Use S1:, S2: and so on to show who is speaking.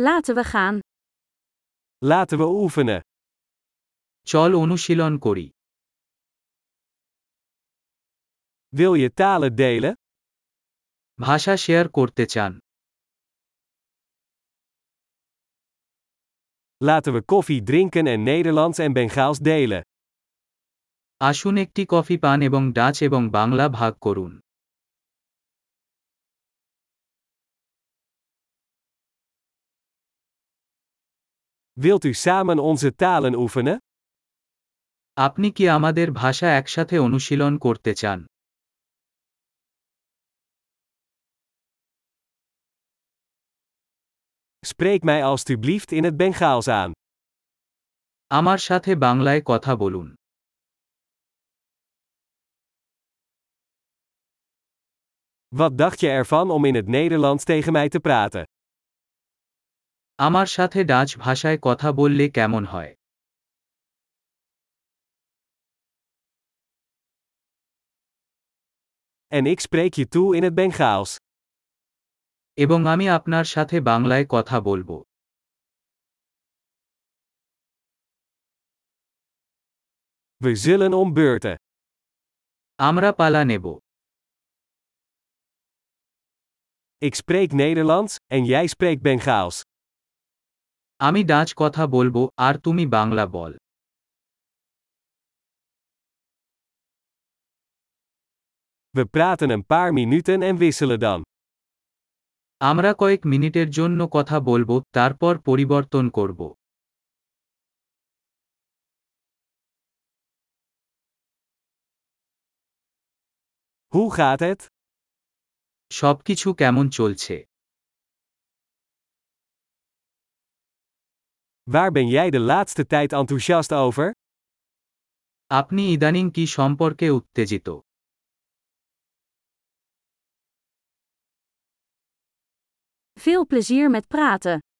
S1: Laten we gaan.
S2: Laten we oefenen.
S3: চল অনুশীলন করি
S2: Wil je talen delen?
S3: ভাষা শেয়ার করতে চান
S2: Laten we koffie drinken en Nederlands en Bengaals delen.
S3: আসুন একটি কফি পান এবং ডাচ এবং বাংলা ভাগ করুন
S2: Wilt u samen onze talen oefenen?
S3: আপনি কি আমাদের ভাষা একসাথে অনুশীলন করতে চান
S2: Spreek mij alstublieft in het Bengaals aan.
S3: আমার সাথে বাংলায় কথা বলুন
S2: Wat dacht je ervan om in het Nederlands tegen mij te praten?
S3: আমার সাথে ডাচ ভাষায় কথা বললে কেমন হয়
S2: En ik spreek je toe in het Bengaals.
S3: এবং আমি আপনার সাথে বাংলায় কথা বলবো
S2: We zullen om beurten.
S3: আমরা পালা নেব
S2: Ik spreek Nederlands en jij spreekt Bengaals.
S3: আমি ডাচ কথা বলবো আর তুমি বাংলা বল
S2: We praten een paar minuten en wisselen dan.
S3: আমরা কয়েক মিনিটের জন্য কথা বলবো তারপর পরিবর্তন করব
S2: Hoe gaat het?
S3: সবকিছু কেমন চলছে
S2: Waar ben jij de laatste tijd enthousiast over?
S3: আপনি ইদানিং কি সম্পর্কে উত্তেজিত
S1: Veel plezier met praten.